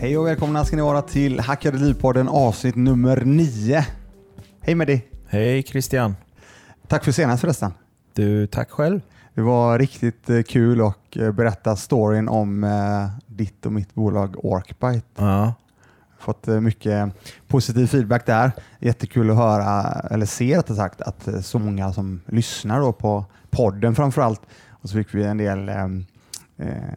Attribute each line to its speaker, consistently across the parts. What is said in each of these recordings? Speaker 1: Hej och välkomna ska ni vara till Hackade Livpodden avsnitt nummer 9. Hej Mehdi!
Speaker 2: Hej Christian.
Speaker 1: Tack för senast förresten.
Speaker 2: Du, tack själv.
Speaker 1: Det var riktigt eh, kul att eh, berätta storyn om eh, ditt och mitt bolag Orkbite.
Speaker 2: Ja.
Speaker 1: Fått eh, mycket positiv feedback där. Jättekul att höra, eller se rättare sagt, att eh, så många som lyssnar då på podden framför allt. Och så fick vi en del eh, eh,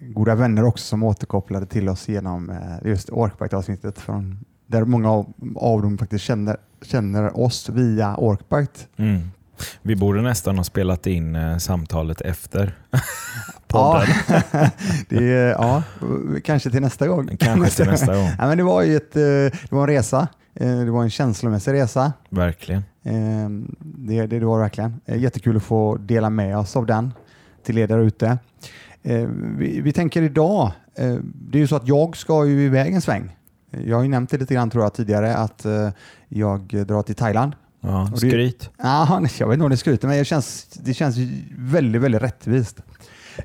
Speaker 1: goda vänner också som återkopplade till oss genom eh, just Orkbite-avsnittet. från- Där många av, av dem faktiskt känner, känner oss via Orkbite.
Speaker 2: Mm. Vi borde nästan ha spelat in eh, samtalet efter podden.
Speaker 1: Ja, det är, ja, kanske till nästa gång.
Speaker 2: Kanske till nästa gång.
Speaker 1: Ja, men det var ju ett, eh, det var en resa. Eh, Det var en känslomässig resa.
Speaker 2: Verkligen.
Speaker 1: Eh, Det, det, det var det verkligen. Eh, Jättekul att få dela med oss av den till er där ute. Eh, Vi, vi tänker idag, eh, det är ju så att jag ska ju iväg en sväng. Jag har ju nämnt det lite grann tror jag tidigare att eh, jag drar till Thailand.
Speaker 2: Ja,
Speaker 1: det-
Speaker 2: skryt.
Speaker 1: Ja, nej, jag vet inte om det skryter, men det känns, det känns ju väldigt, väldigt rättvist.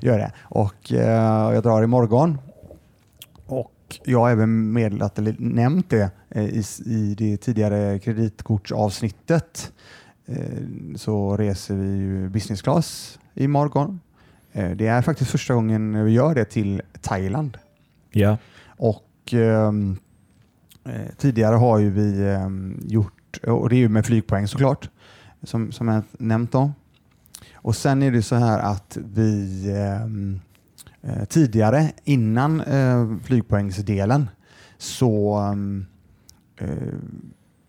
Speaker 1: Gör det. Och eh, jag drar imorgon. Och jag har även meddelat, eller nämnt det eh, i, s- i det tidigare kreditkortsavsnittet. Eh, så reser vi ju business class imorgon. Eh, det är faktiskt första gången vi gör det till Thailand.
Speaker 2: Ja.
Speaker 1: Och ehm, eh, tidigare har ju vi ehm, gjort, och det är ju med flygpoäng såklart, som, som jag nämnt om. Och sen är det så här att vi ehm, eh, tidigare, innan eh, flygpoängsdelen, så ehm, eh,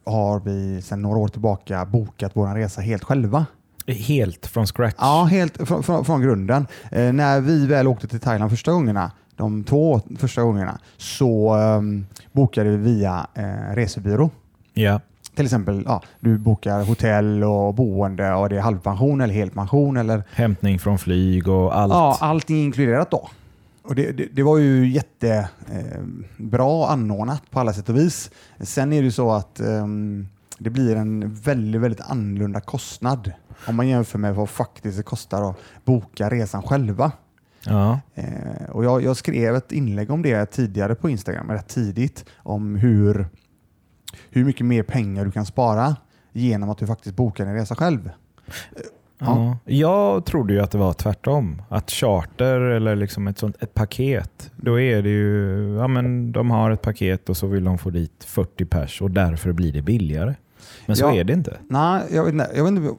Speaker 1: har vi sedan några år tillbaka bokat vår resa helt själva.
Speaker 2: Helt från scratch.
Speaker 1: Ja, helt från, från, från grunden. Eh, när vi väl åkte till Thailand första gångerna, de två första gångerna, så ehm, bokade vi via eh, resebyrå.
Speaker 2: Ja.
Speaker 1: Till exempel, ja, du bokar hotell och boende och det är halvpension eller helpension eller
Speaker 2: Hämtning från flyg och allt.
Speaker 1: Ja, allting inkluderat då. Och det, det, det var ju jättebra anordnat på alla sätt och vis. Sen är det ju så att ehm, det blir en väldigt, väldigt annorlunda kostnad om man jämför med vad faktiskt det kostar att boka resan själva.
Speaker 2: Ja.
Speaker 1: Eh, och jag, jag skrev ett inlägg om det tidigare på Instagram, rätt tidigt, om hur, hur mycket mer pengar du kan spara genom att du faktiskt bokar din resa själv. Ja.
Speaker 2: Ja. Jag trodde ju att det var tvärtom. Att charter eller liksom ett, sånt, ett paket, då är det ju, ja men de har ett paket och så vill de få dit 40 pers och därför blir det billigare. Men så
Speaker 1: Ja.
Speaker 2: är det inte.
Speaker 1: Nej, jag vet inte. Jag, vet inte,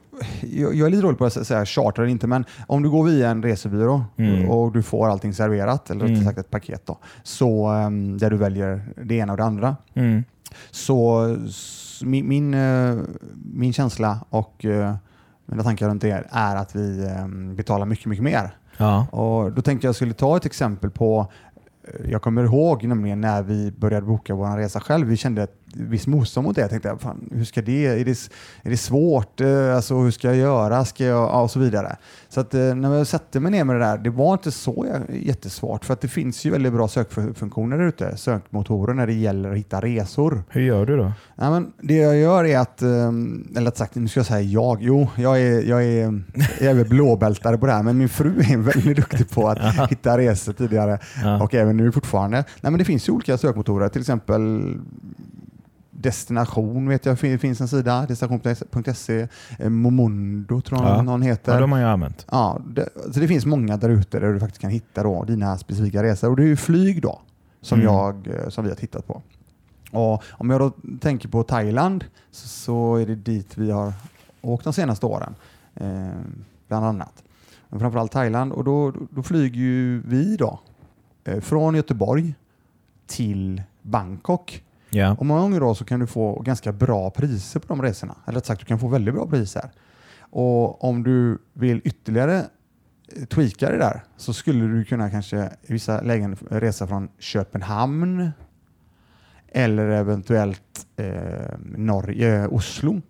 Speaker 1: jag, jag är lite dålig på att sä- säga charter eller inte, men om du går via en resebyrå
Speaker 2: Mm.
Speaker 1: och du får allting serverat, eller rättare
Speaker 2: Mm.
Speaker 1: sagt ett paket, då, så, ehm, där du väljer det ena och det andra,
Speaker 2: Mm.
Speaker 1: så s, min, min, eh, min känsla och eh, mina tankar runt det är att vi ehm, betalar mycket, mycket mer.
Speaker 2: Ja.
Speaker 1: Och då tänkte jag skulle ta ett exempel på eh, jag kommer ihåg nämligen när vi började boka vår resa själv. Vi kände ett visst motstånd mot det. Jag tänkte, fan, hur ska det, är det, är det svårt? Eh, Alltså, hur ska jag göra? Ska jag, ja, och så vidare. Så att, eh, när jag satte mig ner med det där, det var inte så jä- jättesvårt. För att det finns ju väldigt bra sökfunktioner där ute, sökmotorer, när det gäller att hitta resor.
Speaker 2: Hur gör du då?
Speaker 1: Nej, men det jag gör är att, ehm, eller rätt sagt, nu ska jag säga jag. Jo, jag är, jag är, jag är väl blåbältare på det här, men min fru är väldigt duktig på att hitta resor tidigare
Speaker 2: Ja.
Speaker 1: och även nu fortfarande. Nej, men det finns ju olika sökmotorer, till exempel Destination vet jag fin- finns en sida, destination.se, eh, Momondo tror jag
Speaker 2: Ja.
Speaker 1: någon heter.
Speaker 2: Ja, de har jag använt.
Speaker 1: Ja, det, så det finns många där ute där du faktiskt kan hitta då dina specifika resor. Och det är ju flyg då som,
Speaker 2: Mm.
Speaker 1: jag, eh, som vi har tittat på. Och om jag då tänker på Thailand så, så är det dit vi har åkt de senaste åren. Eh, bland annat. Men framförallt Thailand. Och då, då, då flyger ju vi då eh, från Göteborg till Bangkok.
Speaker 2: Ja.
Speaker 1: Och många gånger då så kan du få ganska bra priser på de resorna. Eller rätt sagt, du kan få väldigt bra priser. Och om du vill ytterligare eh, tweaka det där så skulle du kunna kanske i vissa lägen resa från Köpenhamn eller eventuellt eh, Norge, eh, Oslo,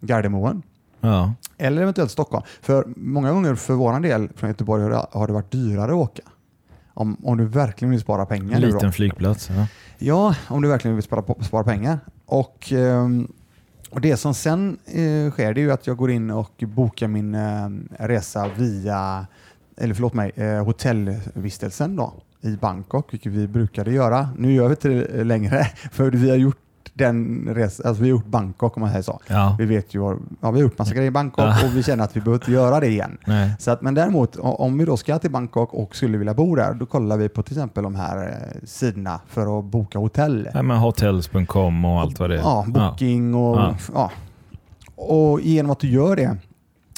Speaker 1: Gardermoen
Speaker 2: Ja.
Speaker 1: eller eventuellt Stockholm. För många gånger för vår del från Göteborg har det, har det varit dyrare att åka. Om, om du verkligen vill spara pengar.
Speaker 2: En
Speaker 1: nu då.
Speaker 2: liten flygplats. Ja.
Speaker 1: Ja, om du verkligen vill spara, spara pengar. Och, ehm, och Det som sen eh, sker det är ju att jag går in och bokar min ehm, resa eh, via eller förlåt mig, eh, hotellvistelsen då, i Bangkok, vilket vi brukade göra. Nu gör vi inte det längre, för vi har gjort den res- alltså vi har gjort Bangkok om man säger så.
Speaker 2: Ja.
Speaker 1: Vi vet ju, var- ja, vi har gjort massa grejer i Bangkok
Speaker 2: Ja.
Speaker 1: och vi känner att vi behöver inte göra det igen.
Speaker 2: Nej.
Speaker 1: Så att, men däremot, o- om vi då ska till Bangkok och skulle vilja bo där, då kollar vi på till exempel de här eh, sidorna för att boka hotell.
Speaker 2: Nej, men hotels.com och allt vad det är.
Speaker 1: Ja, booking och...
Speaker 2: Ja.
Speaker 1: Ja. Och genom att du gör det,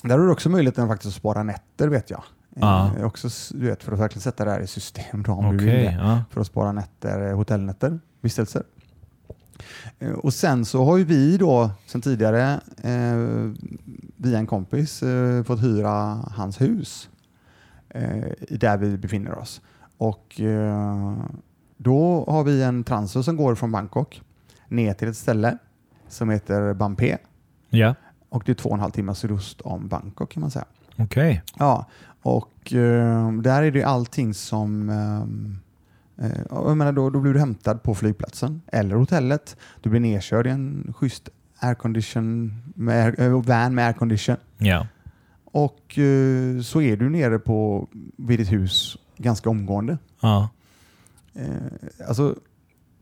Speaker 1: där har du också möjligheten faktiskt att spara nätter vet jag.
Speaker 2: Ja.
Speaker 1: Eh, Också, s- du vet, för att verkligen sätta det här i system då, om
Speaker 2: Okej,
Speaker 1: du vill det.
Speaker 2: ja.
Speaker 1: För att spara nätter, eh, hotellnätter, vistelser. Eh, Och sen så har ju vi då sen tidigare eh, via en kompis eh, fått hyra hans hus eh, i där vi befinner oss. Och eh, då har vi en transfer som går från Bangkok ner till ett ställe som heter Bampé
Speaker 2: ja.
Speaker 1: och det är två och en halv timme sydost om Bangkok kan man säga.
Speaker 2: Okej.
Speaker 1: Ja, och eh, där är det allting som... Eh, eh, jag menar då, då blir du hämtad på flygplatsen eller hotellet. Du blir nedkörd i en schysst aircondition, med, air- eh, van med aircondition.
Speaker 2: Ja.
Speaker 1: Och eh, så är du nere på, vid ditt hus ganska omgående.
Speaker 2: ja.
Speaker 1: Eh, alltså,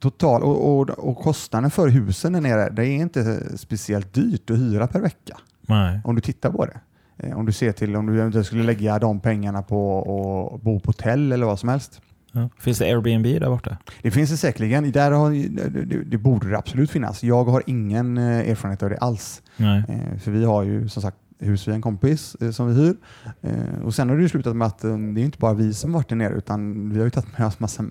Speaker 1: total, och, och, och kostnaden för husen där nere, det är inte speciellt dyrt att hyra per vecka
Speaker 2: Nej.
Speaker 1: om du tittar på det. Eh, Om du ser till om du eventuellt skulle lägga de pengarna på att bo på hotell eller vad som helst.
Speaker 2: Ja. Finns det Airbnb där borta?
Speaker 1: Det finns det säkerligen. Där har, det, det borde det absolut finnas. Jag har ingen eh, erfarenhet av det alls.
Speaker 2: Nej.
Speaker 1: Eh, För vi har ju som sagt hus via en kompis eh, som vi hyr. Eh, Och sen har det ju slutat med att eh, det är inte bara vi som varit där nere utan vi har ju tagit med oss massa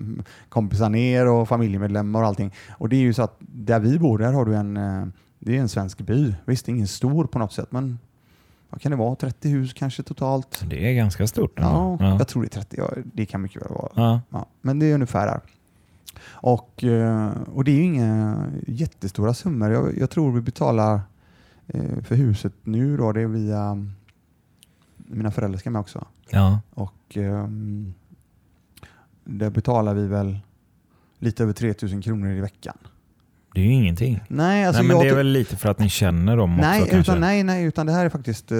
Speaker 1: kompisar ner och familjemedlemmar och allting. Och det är ju så att där vi bor, där har du en, eh, det är en svensk by. Visst, ingen stor på något sätt men vad kan det vara? 30 hus kanske totalt?
Speaker 2: Det är ganska stort.
Speaker 1: Ja,
Speaker 2: ändå. ja.
Speaker 1: jag tror det är 30. Ja, det kan mycket väl vara.
Speaker 2: Ja.
Speaker 1: Ja, men det är ungefär där. Och, eh, och det är ju inga jättestora summor. Jag, jag tror vi betalar eh, för huset nu då, det är via mm, mina föräldrar ska med också.
Speaker 2: Ja.
Speaker 1: Och eh, där betalar vi väl lite över 3000 kronor i veckan.
Speaker 2: Det är ju ingenting.
Speaker 1: Nej, alltså
Speaker 2: nej, men
Speaker 1: jag
Speaker 2: det är
Speaker 1: ty-
Speaker 2: väl lite för att ni känner dem
Speaker 1: nej,
Speaker 2: också kanske?
Speaker 1: utan, nej, nej, utan det här är faktiskt eh,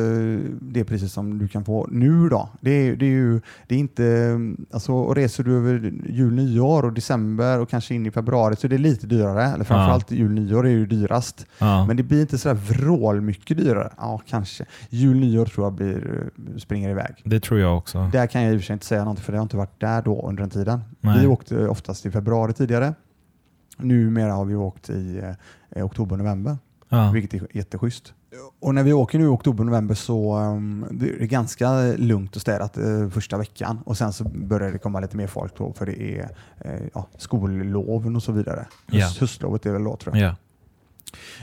Speaker 1: det priset som du kan få nu då. Det är, det är ju det är inte, mm, alltså och reser du över jul, nyår och december och kanske in i februari så det är lite dyrare. Eller framförallt jul, nyår är ju dyrast.
Speaker 2: Ja.
Speaker 1: Men det blir inte sådär vrål mycket dyrare. Ja, kanske. Jul, nyår tror jag blir, eh, springer iväg.
Speaker 2: Det tror jag också.
Speaker 1: Där kan jag i och för sig inte säga någonting för jag har inte varit där då under den tiden.
Speaker 2: Nej.
Speaker 1: Vi åkte oftast i februari tidigare. Numera har vi åkt i eh, oktober, november.
Speaker 2: Ja.
Speaker 1: Vilket är jätteschysst. Och när vi åker nu i oktober november så um, det är det ganska lugnt och städat eh, första veckan. Och sen så börjar det komma lite mer folk då för det är eh, ja, skolloven och så vidare.
Speaker 2: Ja.
Speaker 1: Höst- Höstlovet är väl då tror jag.
Speaker 2: Ja.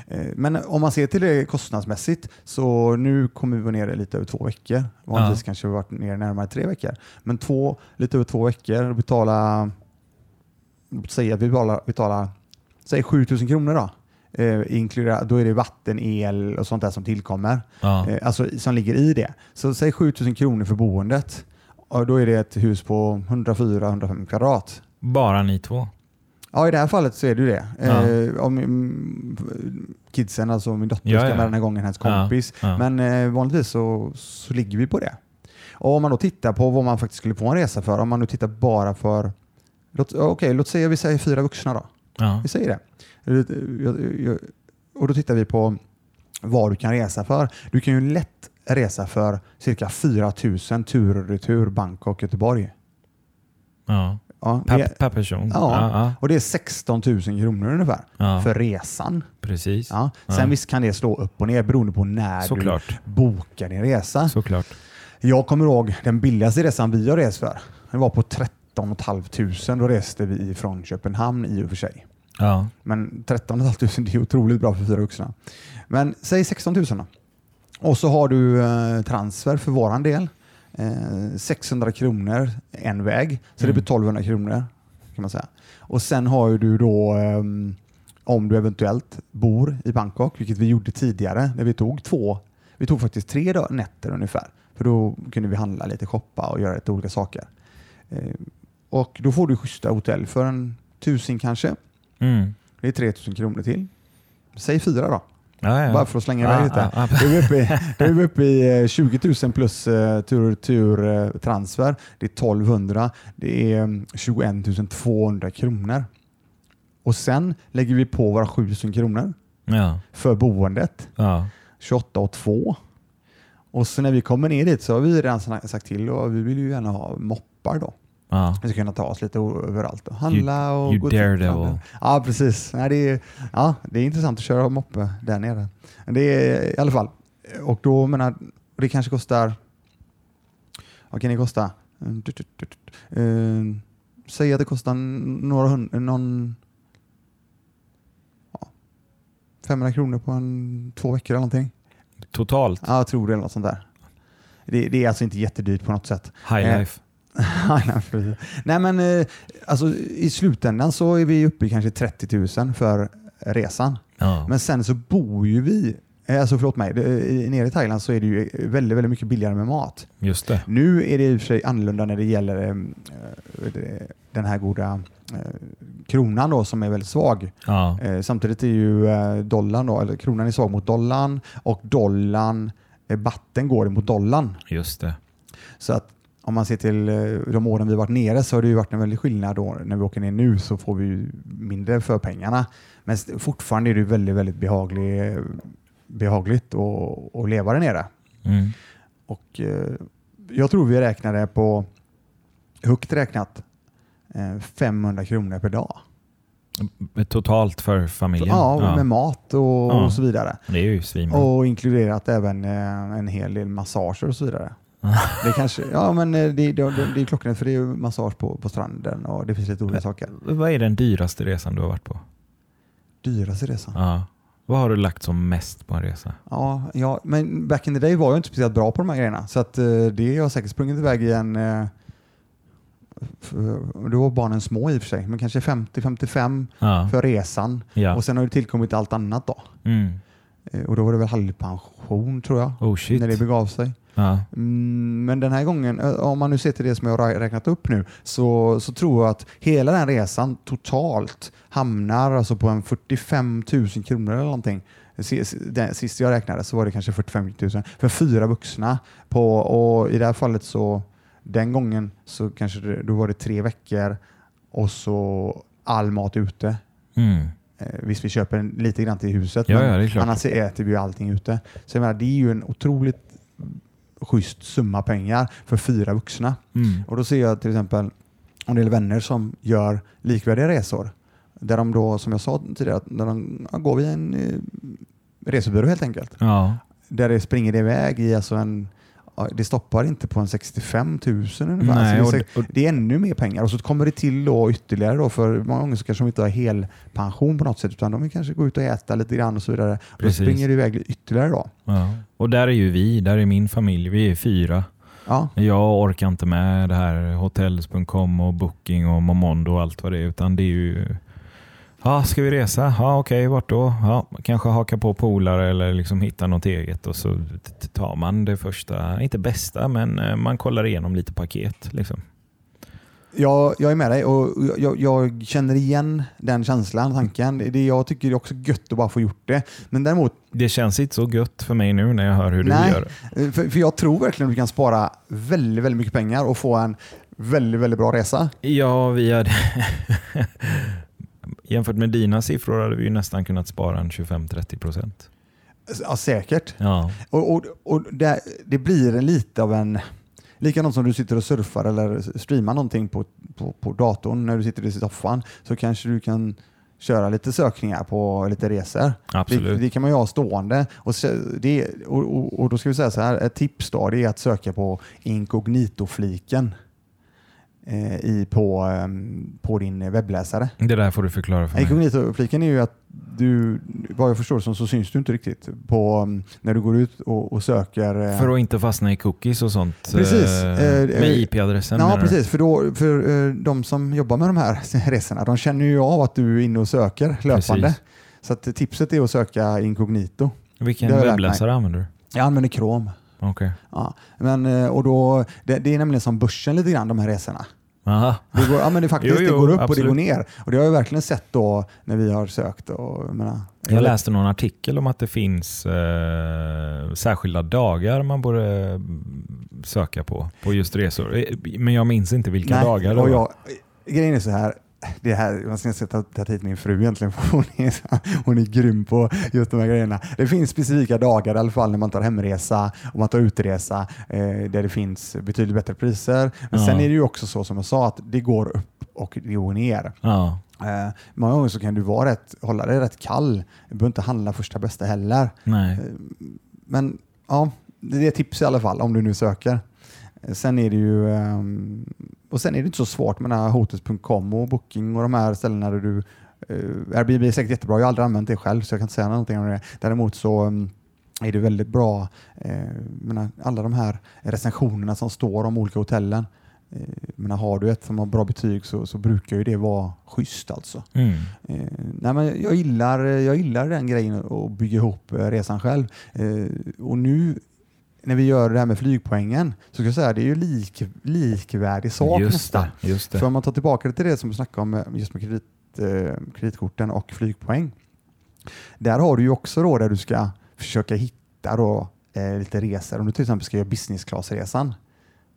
Speaker 1: Eh, Men om man ser till det kostnadsmässigt så nu kommer vi vara nere lite över två veckor. Vanligtvis
Speaker 2: Ja.
Speaker 1: kanske vi har varit nere närmare tre veckor. Men två, lite över två veckor och betala, säg att vi betalar, betalar säg 7000 kronor då. Eh, inkludera, då är det vatten, el och sånt där som tillkommer.
Speaker 2: Ja.
Speaker 1: Eh, alltså i- som ligger i det. Så säg 7000 kronor för boendet. Och då är det ett hus på 104-105 kvadrat.
Speaker 2: Bara ni två?
Speaker 1: Ja, i det här fallet så är det ju det.
Speaker 2: Ja.
Speaker 1: Eh, om, mm, kidsen, alltså min dotter,
Speaker 2: Ja,
Speaker 1: ska
Speaker 2: ja.
Speaker 1: med den här gången, hennes
Speaker 2: Ja,
Speaker 1: kompis.
Speaker 2: ja.
Speaker 1: Men eh, vanligtvis så, så ligger vi på det. Och om man då tittar på vad man faktiskt skulle få en resa för, om man nu tittar bara för... Låt, ja, okej, låt säga vi säger fyra vuxna då.
Speaker 2: Ja.
Speaker 1: Vi säger det. Eh, jag- jag- Och då tittar vi på vad du kan resa för. Du kan ju lätt resa för cirka 4 000 tur och retur Bangkok-Göteborg.
Speaker 2: Ja.
Speaker 1: Ja,
Speaker 2: Per,
Speaker 1: det-
Speaker 2: per person?
Speaker 1: Ja.
Speaker 2: ja.
Speaker 1: och det är 16 000 kronor ungefär
Speaker 2: ja.
Speaker 1: för resan.
Speaker 2: Precis.
Speaker 1: Ja. Sen
Speaker 2: Ja.
Speaker 1: visst kan det slå upp och ner beroende på när
Speaker 2: Såklart.
Speaker 1: du Ah. bokar din resa.
Speaker 2: Såklart.
Speaker 1: Jag kommer ihåg den billigaste resan vi har rest för. Den var på 13 500. Då reste vi ifrån Köpenhamn i och för sig.
Speaker 2: Ja.
Speaker 1: Men 13 500 det är otroligt bra för fyra vuxna. Men säg 16 000 då. Och så har du eh, transfer för våran del. Eh, 600 kronor en väg, så det blir
Speaker 2: Mm.
Speaker 1: 1200 kronor kan man säga. Och sen har ju du då ehm, om du eventuellt bor i Bangkok, vilket vi gjorde tidigare när vi tog två, vi tog faktiskt tre dag, nätter ungefär. För då kunde vi handla lite, shoppa och göra lite olika saker. Eh, och då får du schyssta hotell för en tusen kanske.
Speaker 2: Mm.
Speaker 1: Det är 3000 kronor till. Säg fyra då.
Speaker 2: Ja, ja.
Speaker 1: Bara för att slänga
Speaker 2: Ja,
Speaker 1: iväg lite.
Speaker 2: ja,
Speaker 1: Då är vi uppe i, då är vi uppe i eh, 20 000 plus eh, tur tur eh, transfer. Det är 1200. Det är mm, 21 200 kronor. Och sen lägger vi på våra 7000 kronor
Speaker 2: ja.
Speaker 1: för boendet.
Speaker 2: ja.
Speaker 1: 28 och 2. Och så när vi kommer ner dit så har vi redan sna- sagt till och vi vill ju gärna ha moppar då.
Speaker 2: ja.
Speaker 1: Vi ska kunna ta oss lite o- överallt och handla och
Speaker 2: you
Speaker 1: till
Speaker 2: daredevil.
Speaker 1: stranden. Ja, precis. Nej, det, är, ja, det är intressant att köra moppe där nere. Men Det är i alla fall. Och då menar, det kanske kostar, vad kan det kosta? Mm, tut, tut, tut, tut. Eh, Säg att det kostar några hundra, någon ja, 500 kronor på en, två veckor eller någonting.
Speaker 2: Totalt
Speaker 1: Ja, jag tror det eller något sånt där. Det, det är alltså inte jättedyrt på något sätt.
Speaker 2: high
Speaker 1: Eh,
Speaker 2: life.
Speaker 1: Nej, precis. Nej, men eh, alltså, i slutändan så är vi uppe i kanske 30 000 för resan.
Speaker 2: Ja.
Speaker 1: Men sen så bor ju vi, eh, alltså förlåt mig, det- i- nere i Thailand så är det ju eh, väldigt, väldigt mycket billigare med mat.
Speaker 2: Just det.
Speaker 1: Nu är det i och för sig annorlunda när det gäller eh, eh, den här goda eh, kronan då som är väldigt svag.
Speaker 2: Ja.
Speaker 1: Eh, Samtidigt är ju eh, dollarn då, eller kronan är svag mot dollarn och dollarn, eh, batten går mot dollarn.
Speaker 2: Just det.
Speaker 1: Så att om man ser till eh, de åren vi varit nere så har det ju varit en väldig skillnad. Då. När vi åker ner nu så får vi ju mindre för pengarna. Men st- fortfarande är det ju väldigt, väldigt behaglig, behagligt att, att leva där nere.
Speaker 2: Mm.
Speaker 1: Och, eh, jag tror vi räknade på, högt räknat, eh, 500 kronor per dag.
Speaker 2: Eh, Totalt för familjen.
Speaker 1: Ja, med mat och,
Speaker 2: Ja.
Speaker 1: och så vidare.
Speaker 2: Det är ju svinbra.
Speaker 1: Och inkluderat även eh, en hel del massager och så vidare. Det kanske, ja men eh, det, det, det är klockrent för det är ju massage på, på stranden och det finns lite olika saker.
Speaker 2: Vad är den dyraste resan du har varit på?
Speaker 1: Dyraste resan?
Speaker 2: Ja. Vad har du lagt som mest på en resa?
Speaker 1: Ja, ja, men back in the day var jag inte speciellt bra på de här grejerna så att eh, det har jag säkert sprungit iväg i en eh, f- eh, då var barnen små i och för sig, men kanske 50-55
Speaker 2: Ja.
Speaker 1: för resan.
Speaker 2: ja.
Speaker 1: Och sen har det tillkommit allt annat då.
Speaker 2: Mm.
Speaker 1: Eh, Och då var det väl halvpension tror jag,
Speaker 2: Oh shit.
Speaker 1: när det begav sig.
Speaker 2: Ja.
Speaker 1: Mm, Men den här gången, ö, om man nu ser till det som jag har ra- räknat upp nu, så, så tror jag att hela den resan totalt hamnar alltså på en 45 000 kronor eller någonting. Si- si- Den, sist jag räknade så var det kanske 45 000 för fyra vuxna. På, och I det här fallet så, den gången så kanske det, då var det tre veckor och så all mat ute.
Speaker 2: Mm.
Speaker 1: Eh, Visst, vi köper en, lite grann till huset,
Speaker 2: Ja,
Speaker 1: men
Speaker 2: ja, det är klart.
Speaker 1: annars äter vi ju allting ute. Så jag menar, det är ju en otroligt schysst summa pengar för fyra vuxna.
Speaker 2: Mm.
Speaker 1: Och då ser jag till exempel en del vänner som gör likvärdiga resor. Där de då, som jag sa tidigare, att när de ja, går via en eh, resebyrå helt enkelt.
Speaker 2: Ja.
Speaker 1: Där det springer iväg i alltså en ja, det stoppar inte på en 65 000 ungefär.
Speaker 2: Nej,
Speaker 1: alltså det, är,
Speaker 2: och-
Speaker 1: sex- det är ännu mer pengar och så kommer det till då ytterligare då för många gånger så kanske de inte har helpension på något sätt utan de vill kanske gå ut och äta lite grann och så vidare. Då
Speaker 2: Precis.
Speaker 1: springer det iväg ytterligare då.
Speaker 2: ja. Och där är ju vi, där är min familj. Vi är fyra.
Speaker 1: Ja,
Speaker 2: Jag orkar inte med det här hotels.com och booking och Momondo och allt vad det är. Utan det är ju... Ja, ska vi resa? Ja, okej, vart då? Ja, kanske haka på polare eller liksom hitta något eget och så t- t- tar man det första, inte bästa, men eh, man kollar igenom lite paket. Liksom.
Speaker 1: jag, jag är med dig och jag, jag, jag känner igen den känslan, tanken. Det, det, jag tycker det är också gött att bara få gjort det. Men däremot
Speaker 2: Det känns inte så gött för mig nu när jag hör hur
Speaker 1: Nej.
Speaker 2: du gör.
Speaker 1: Eh, För, för jag tror verkligen att du kan spara väldigt, väldigt mycket pengar och få en väldigt, väldigt bra resa.
Speaker 2: Ja, vi hade... Jämfört med dina siffror hade vi ju nästan kunnat spara en 25-30 procent.
Speaker 1: Ja, säkert.
Speaker 2: Ja.
Speaker 1: Och, och, och det, det blir en lite av en... Likadant som du sitter och surfar eller streamar någonting på, på, på datorn när du sitter i soffan så kanske du kan köra lite sökningar på lite resor. Det,
Speaker 2: Absolut.
Speaker 1: det kan man ju ha stående. Och, så, det, och, och, och då ska vi säga så här, ett tips då det är att söka på inkognito-fliken eh, i, på, ehm, på din webbläsare.
Speaker 2: Det där får du förklara för mig.
Speaker 1: Inkognito-fliken är ju att du, vad jag förstår som så syns du inte riktigt på, mm, när du går ut och, och söker. eh,
Speaker 2: För att inte fastna i cookies och sånt.
Speaker 1: Precis.
Speaker 2: eh,
Speaker 1: Eh,
Speaker 2: Med
Speaker 1: eh,
Speaker 2: IP-adressen
Speaker 1: Ja,
Speaker 2: menar du?
Speaker 1: precis. För, då, för eh, de som jobbar med de här resorna, de känner ju av att du är inne och söker löpande.
Speaker 2: Precis.
Speaker 1: Så att tipset är att söka inkognito.
Speaker 2: Vilken
Speaker 1: Det har jag lärt
Speaker 2: webbläsare använder du?
Speaker 1: Jag använder Chrome.
Speaker 2: Okej.
Speaker 1: Ja, men, eh, och då, det, det är nämligen som börsen lite grann, de här resorna.
Speaker 2: Aha.
Speaker 1: Det, går, ja, men det, är faktiskt,
Speaker 2: Jo, jo,
Speaker 1: det går upp och det
Speaker 2: absolut.
Speaker 1: går ner. Och det har jag verkligen sett då när vi har sökt. Och, jag menar,
Speaker 2: Jag läste någon artikel om att det finns eh, särskilda dagar man borde eh, söka på, på just resor. Eh, Men jag minns inte vilka
Speaker 1: Nej,
Speaker 2: dagar det
Speaker 1: och
Speaker 2: var.
Speaker 1: jag, Grejen är så här, det här, man ska inte ta, ta hit min fru egentligen, för hon är, hon är grym på just de här grejerna. Det finns specifika dagar i alla fall när man tar hemresa och man tar utresa eh, där det finns betydligt bättre priser. Men
Speaker 2: Ja.
Speaker 1: sen är det ju också så som jag sa att det går upp och det går ner.
Speaker 2: Ja.
Speaker 1: Eh, många gånger så kan du vara rätt, hålla dig rätt kall. Du behöver inte handla första bästa heller.
Speaker 2: Nej.
Speaker 1: Eh, Men ja, det är ett tips i alla fall om du nu söker. Eh, Sen är det ju ehm, och sen är det inte så svårt med den här Hotels.com och Booking och de här ställena där du eh, Airbnb är säkert jättebra. Jag har aldrig använt det själv så jag kan inte säga någonting om det. Däremot så mm, är det väldigt bra, eh, menar, alla de här recensionerna som står om olika hotellen. Eh, menar, har du ett som har bra betyg så, så brukar ju det vara schysst alltså.
Speaker 2: Mm.
Speaker 1: Eh, nej men jag, gillar, jag gillar den grejen och bygga ihop eh, resan själv. Eh, och nu när vi gör det här med flygpoängen så ska jag säga det är ju lik, likvärdig sak
Speaker 2: Just
Speaker 1: nästan.
Speaker 2: det. Just det.
Speaker 1: För om man tar tillbaka det till det som vi snackade om eh, just med kredit, eh, kreditkorten och flygpoäng. Där har du ju också då där du ska försöka hitta då, eh, lite resor. Om du till exempel ska göra business class-resan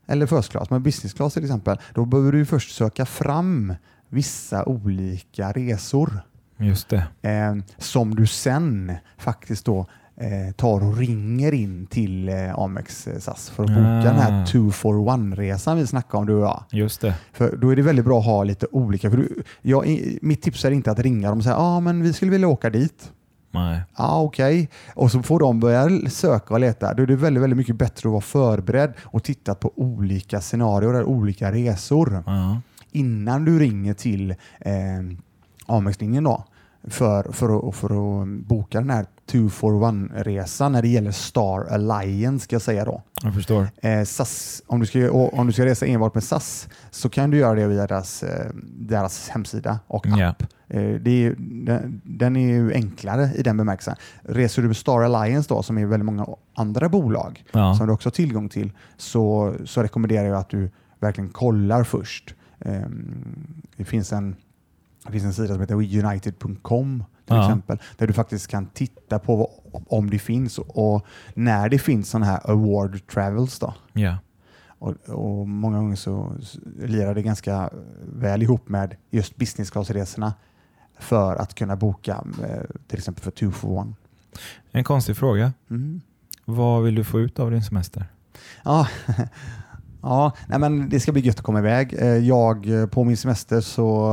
Speaker 1: eller first class, men business class till exempel, då behöver du ju först söka fram vissa olika resor
Speaker 2: Just det.
Speaker 1: eh, som du sen faktiskt då eh, tar och ringer in till eh, Amex eh, SAS för att boka
Speaker 2: Ah.
Speaker 1: den här two for one-resan vi snackade om du och jag.
Speaker 2: Just det.
Speaker 1: För då är det väldigt bra att ha lite olika. För du, jag, i- mitt tips är inte att ringa dem och säga ah, men vi skulle vilja åka dit.
Speaker 2: Nej.
Speaker 1: Ja, ah, okej. Och så får de börja söka och leta. Då är det väldigt, väldigt mycket bättre att vara förberedd och titta på olika scenarier och olika resor
Speaker 2: Ja.
Speaker 1: innan du ringer till eh, Amex-linjen då för, för, att, för att boka den här two for one-resan när det gäller Star Alliance ska jag säga då.
Speaker 2: Jag förstår.
Speaker 1: Eh, SAS, om, du ska, och om du ska resa enbart med SAS så kan du göra det via deras, eh, deras hemsida och app.
Speaker 2: Ja.
Speaker 1: Eh, det är, ju- den, den är ju enklare i den bemärkelsen. Reser du med Star Alliance då, som är väldigt många andra bolag
Speaker 2: Ja.
Speaker 1: som du också har tillgång till, så, så rekommenderar jag att du verkligen kollar först. Eh, det, finns en, det finns en sida som heter united.com till
Speaker 2: Ja.
Speaker 1: exempel, där du faktiskt kan titta på vad, om det finns och, och när det finns sådana här award travels. Då.
Speaker 2: ja.
Speaker 1: Och, och många gånger så s- lirar det ganska väl ihop med just business class-resorna för att kunna boka eh, till exempel för two for one.
Speaker 2: En konstig fråga.
Speaker 1: Mm.
Speaker 2: Vad vill du få ut av din semester?
Speaker 1: Ja, ja nej men det ska bli gött att komma iväg. Eh, Jag eh, på min semester så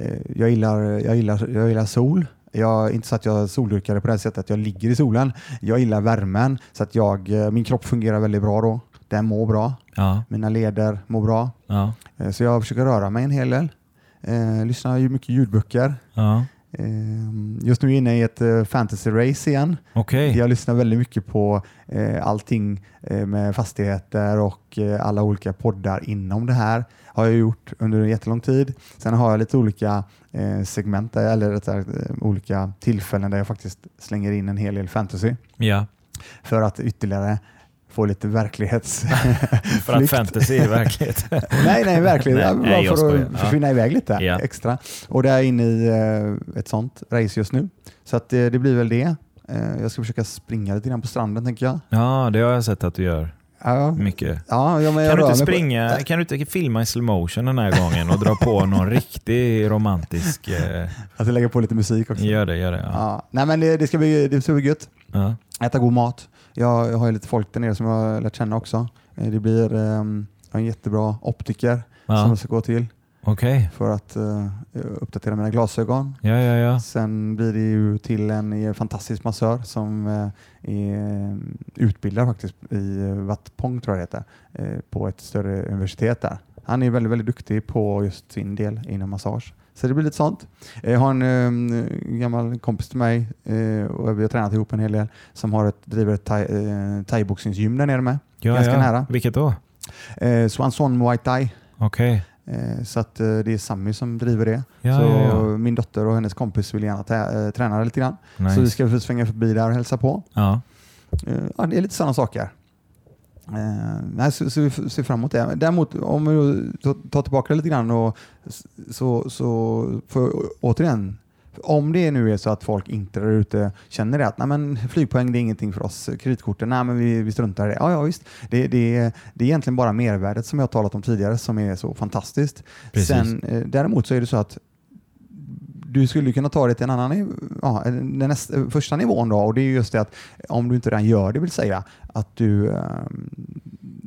Speaker 1: eh, jag gillar, jag gillar, jag gillar sol. Jag är inte så att jag soldyrkar på det här sättet att jag ligger i solen. Jag gillar värmen så att jag, eh, min kropp fungerar väldigt bra då. Den mår bra.
Speaker 2: Ja.
Speaker 1: Mina leder mår bra.
Speaker 2: Ja.
Speaker 1: Eh, Så jag försöker röra mig en hel del. Eh, lyssnar ju mycket ljudböcker.
Speaker 2: ja.
Speaker 1: Eh, just nu är jag inne i ett eh, fantasy-race igen.
Speaker 2: Okej.
Speaker 1: Jag lyssnar väldigt mycket på eh, allting eh, med fastigheter och eh, alla olika poddar inom det här. Har jag gjort under en jättelång tid. Sen har jag lite olika eh, segment, där, eller rättare, sagt, eh, olika tillfällen där jag faktiskt slänger in en hel del fantasy
Speaker 2: Ja.
Speaker 1: för att ytterligare få lite verklighets...
Speaker 2: För att
Speaker 1: flykt.
Speaker 2: fantasy är verklighet.
Speaker 1: Nej, nej, verkligen.
Speaker 2: Nej,
Speaker 1: Nej,
Speaker 2: nej, jag
Speaker 1: bara för
Speaker 2: skojar.
Speaker 1: att
Speaker 2: Ja.
Speaker 1: försvinna iväg lite
Speaker 2: Ja.
Speaker 1: extra. Och det är inne i eh, ett sånt race just nu. Så att, eh, det blir väl det. Eh, jag ska försöka springa lite grann på stranden tänker jag.
Speaker 2: Ja, det har jag sett att du gör
Speaker 1: Ja,
Speaker 2: mycket.
Speaker 1: ja, ja, men jag
Speaker 2: Mm. Kan du,
Speaker 1: rör
Speaker 2: inte
Speaker 1: mig på-
Speaker 2: springa,
Speaker 1: Nej.
Speaker 2: kan du inte filma i slow motion den här gången och dra på någon riktig romantisk... Eh,
Speaker 1: Att jag lägger på lite musik också.
Speaker 2: gör det, gör det. Ja.
Speaker 1: Ja. Nej, men det, det, ska bli, det ska bli gött.
Speaker 2: Ja.
Speaker 1: Äta god mat. Jag, jag har ju lite folk där nere som jag har lärt känna också. Eh, det blir ehm, jag har en jättebra optiker som
Speaker 2: Ja.
Speaker 1: jag ska gå till
Speaker 2: Okej,
Speaker 1: för att eh, uppdatera mina glasögon.
Speaker 2: ja, ja, ja.
Speaker 1: Sen blir det ju till en eh, fantastisk massör som eh, är eh, utbildad faktiskt i Wattpong tror jag det heter, eh, på ett större universitet där. Han är väldigt, väldigt duktig på just sin del inom massage. Så det blir lite sånt. Jag har en eh, gammal kompis till mig eh, och vi har tränat ihop en hel del som har ett, driver ett thai- eh, thaiboxningsgym där nere med.
Speaker 2: ja
Speaker 1: Ganska
Speaker 2: ja.
Speaker 1: nära.
Speaker 2: Vilket då?
Speaker 1: Eh, Swanson Muay Thai.
Speaker 2: Okej.
Speaker 1: Eh, Så att eh, det är Sammy som driver det.
Speaker 2: Ja,
Speaker 1: så
Speaker 2: ja, ja.
Speaker 1: Min dotter och hennes kompis vill gärna tä- eh, träna lite grann. Så vi
Speaker 2: Nice.
Speaker 1: ska svänga förbi där och hälsa på.
Speaker 2: Ja.
Speaker 1: Eh, Ja, det är lite sådana saker. Eh, nej, så, så vi f- ser fram emot det. Däremot om vi då tar- tar tillbaka det lite grann och s- så, så får jag å- återigen, om det nu är så att folk inte där ute känner det att nej, men flygpoäng det är ingenting för oss, kreditkorten, nej, men vi, vi struntar i det. Ja, ja visst. Det, det, är- det är egentligen bara mervärdet som jag har talat om tidigare som är så fantastiskt.
Speaker 2: Precis.
Speaker 1: Sen, eh, däremot så är det så att du skulle kunna ta det till en annan niv- ja, den näst, eh, första nivån då och det är ju just det att om du inte redan gör det vill säga att du ehm,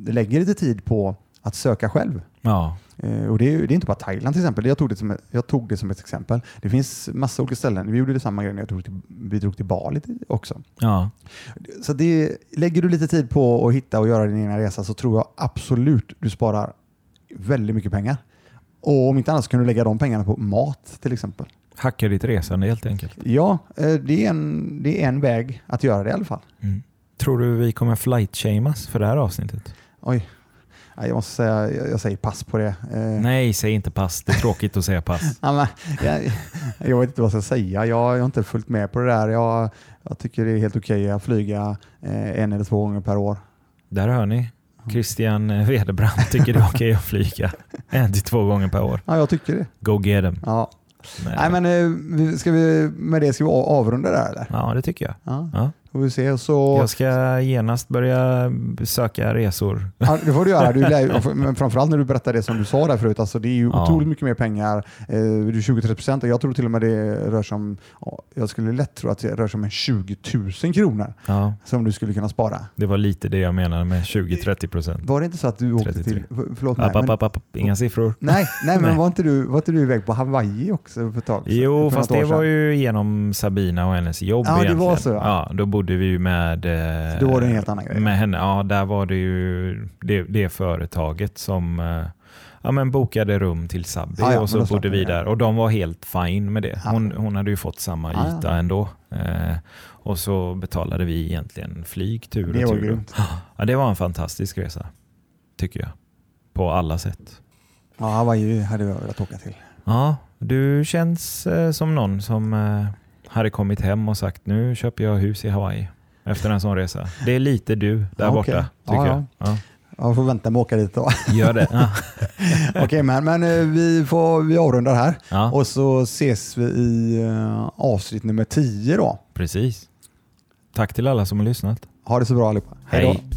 Speaker 1: lägger lite tid på att söka själv.
Speaker 2: Ja,
Speaker 1: Eh, och det är, ju- det är inte bara Thailand till exempel. Jag tog, det som, ett- jag tog det som ett exempel. Det finns massa olika ställen. Vi gjorde det samma grej när jag drog till, vi drog till Bali till- också.
Speaker 2: ja.
Speaker 1: Så det, lägger du lite tid på att hitta och göra din egna resa så tror jag absolut du sparar väldigt mycket pengar. Och om inte annat så kan du lägga de pengarna på mat till exempel.
Speaker 2: Hacka ditt resande helt enkelt.
Speaker 1: Ja, eh, det är en, det är en väg att göra det i alla fall.
Speaker 2: Mm. Tror du vi kommer flight-shamas för det här avsnittet?
Speaker 1: Oj, Nej, jag måste säga, jag, jag säger pass på det. Eh,
Speaker 2: Nej, säg inte pass. Det är tråkigt att säga pass.
Speaker 1: ja, men, jag, jag vet inte vad jag ska säga. Jag, jag har inte följt med på det där. Jag, jag tycker det är helt okej att flyga eh, en eller två gånger per år.
Speaker 2: Där hör ni. Christian eh, Wedebrandt tycker det är okej att flyga en till två gånger per år.
Speaker 1: Ja, jag tycker det.
Speaker 2: Go get them.
Speaker 1: Ja. Nej, men, eh, vi- ska vi, med det ska vi av- avrunda där eller?
Speaker 2: Ja, det tycker jag.
Speaker 1: Ja,
Speaker 2: Ja.
Speaker 1: får vi se. Så,
Speaker 2: Jag ska genast börja söka resor.
Speaker 1: ja, det får du göra. Du lär, ju- men framförallt när du berättar det som du sa där förut. Alltså, det är ju
Speaker 2: Ja.
Speaker 1: otroligt mycket mer pengar. Eh, Det är 20-30 procent och jag tror till och med det rör sig om, ja, jag skulle lätt tro att det rör sig om en 20 000 kronor
Speaker 2: Ja,
Speaker 1: som du skulle kunna spara.
Speaker 2: det var lite det jag menade med 20-30 procent.
Speaker 1: Var det inte så att du åkte
Speaker 2: 33.
Speaker 1: till... för- Förlåt mig.
Speaker 2: App, app,
Speaker 1: men,
Speaker 2: app, app. Inga siffror.
Speaker 1: nej, nej, men
Speaker 2: Nej.
Speaker 1: var inte, du, var inte du iväg på Hawaii också för ett tag sedan?
Speaker 2: Jo,
Speaker 1: För
Speaker 2: fast
Speaker 1: något år
Speaker 2: det var
Speaker 1: sedan.
Speaker 2: ju genom Sabina och hennes jobb
Speaker 1: Ja, det
Speaker 2: egentligen.
Speaker 1: var så, ja.
Speaker 2: Ja, då bodde vi ju med... eh,
Speaker 1: Då var det en helt annan grej.
Speaker 2: Med henne, ja, där var det ju det, det företaget som eh, ja, men bokade rum till Sabbi
Speaker 1: Ja, ja, men
Speaker 2: och så
Speaker 1: då slapp
Speaker 2: bodde
Speaker 1: ni
Speaker 2: vi
Speaker 1: det.
Speaker 2: där. Och de var helt fine med det.
Speaker 1: Ja.
Speaker 2: Hon, hon hade ju fått samma
Speaker 1: Ja, ja.
Speaker 2: yta ändå. Eh, och så betalade vi egentligen flyg tur och
Speaker 1: Det var
Speaker 2: tur.
Speaker 1: grymt.
Speaker 2: Ja, det var en fantastisk resa, tycker jag. På alla sätt.
Speaker 1: Ja, Hawaii hade jag velat åka till.
Speaker 2: Ja, du känns eh, som någon som eh, hade kommit hem och sagt nu köper jag hus i Hawaii efter en sån resa. Det är lite du där
Speaker 1: Ja, okej.
Speaker 2: borta, tycker
Speaker 1: Ja, ja.
Speaker 2: jag. Ja.
Speaker 1: Jag får vänta med att åka dit då.
Speaker 2: Gör det. Ja.
Speaker 1: Okej, men, men eh, vi, får, vi avrundar här.
Speaker 2: Ja,
Speaker 1: Och så ses vi i eh, avsnitt nummer 10 då.
Speaker 2: precis. Tack till alla som har lyssnat.
Speaker 1: Ha det så bra allihopa. Hej då.
Speaker 2: Hej.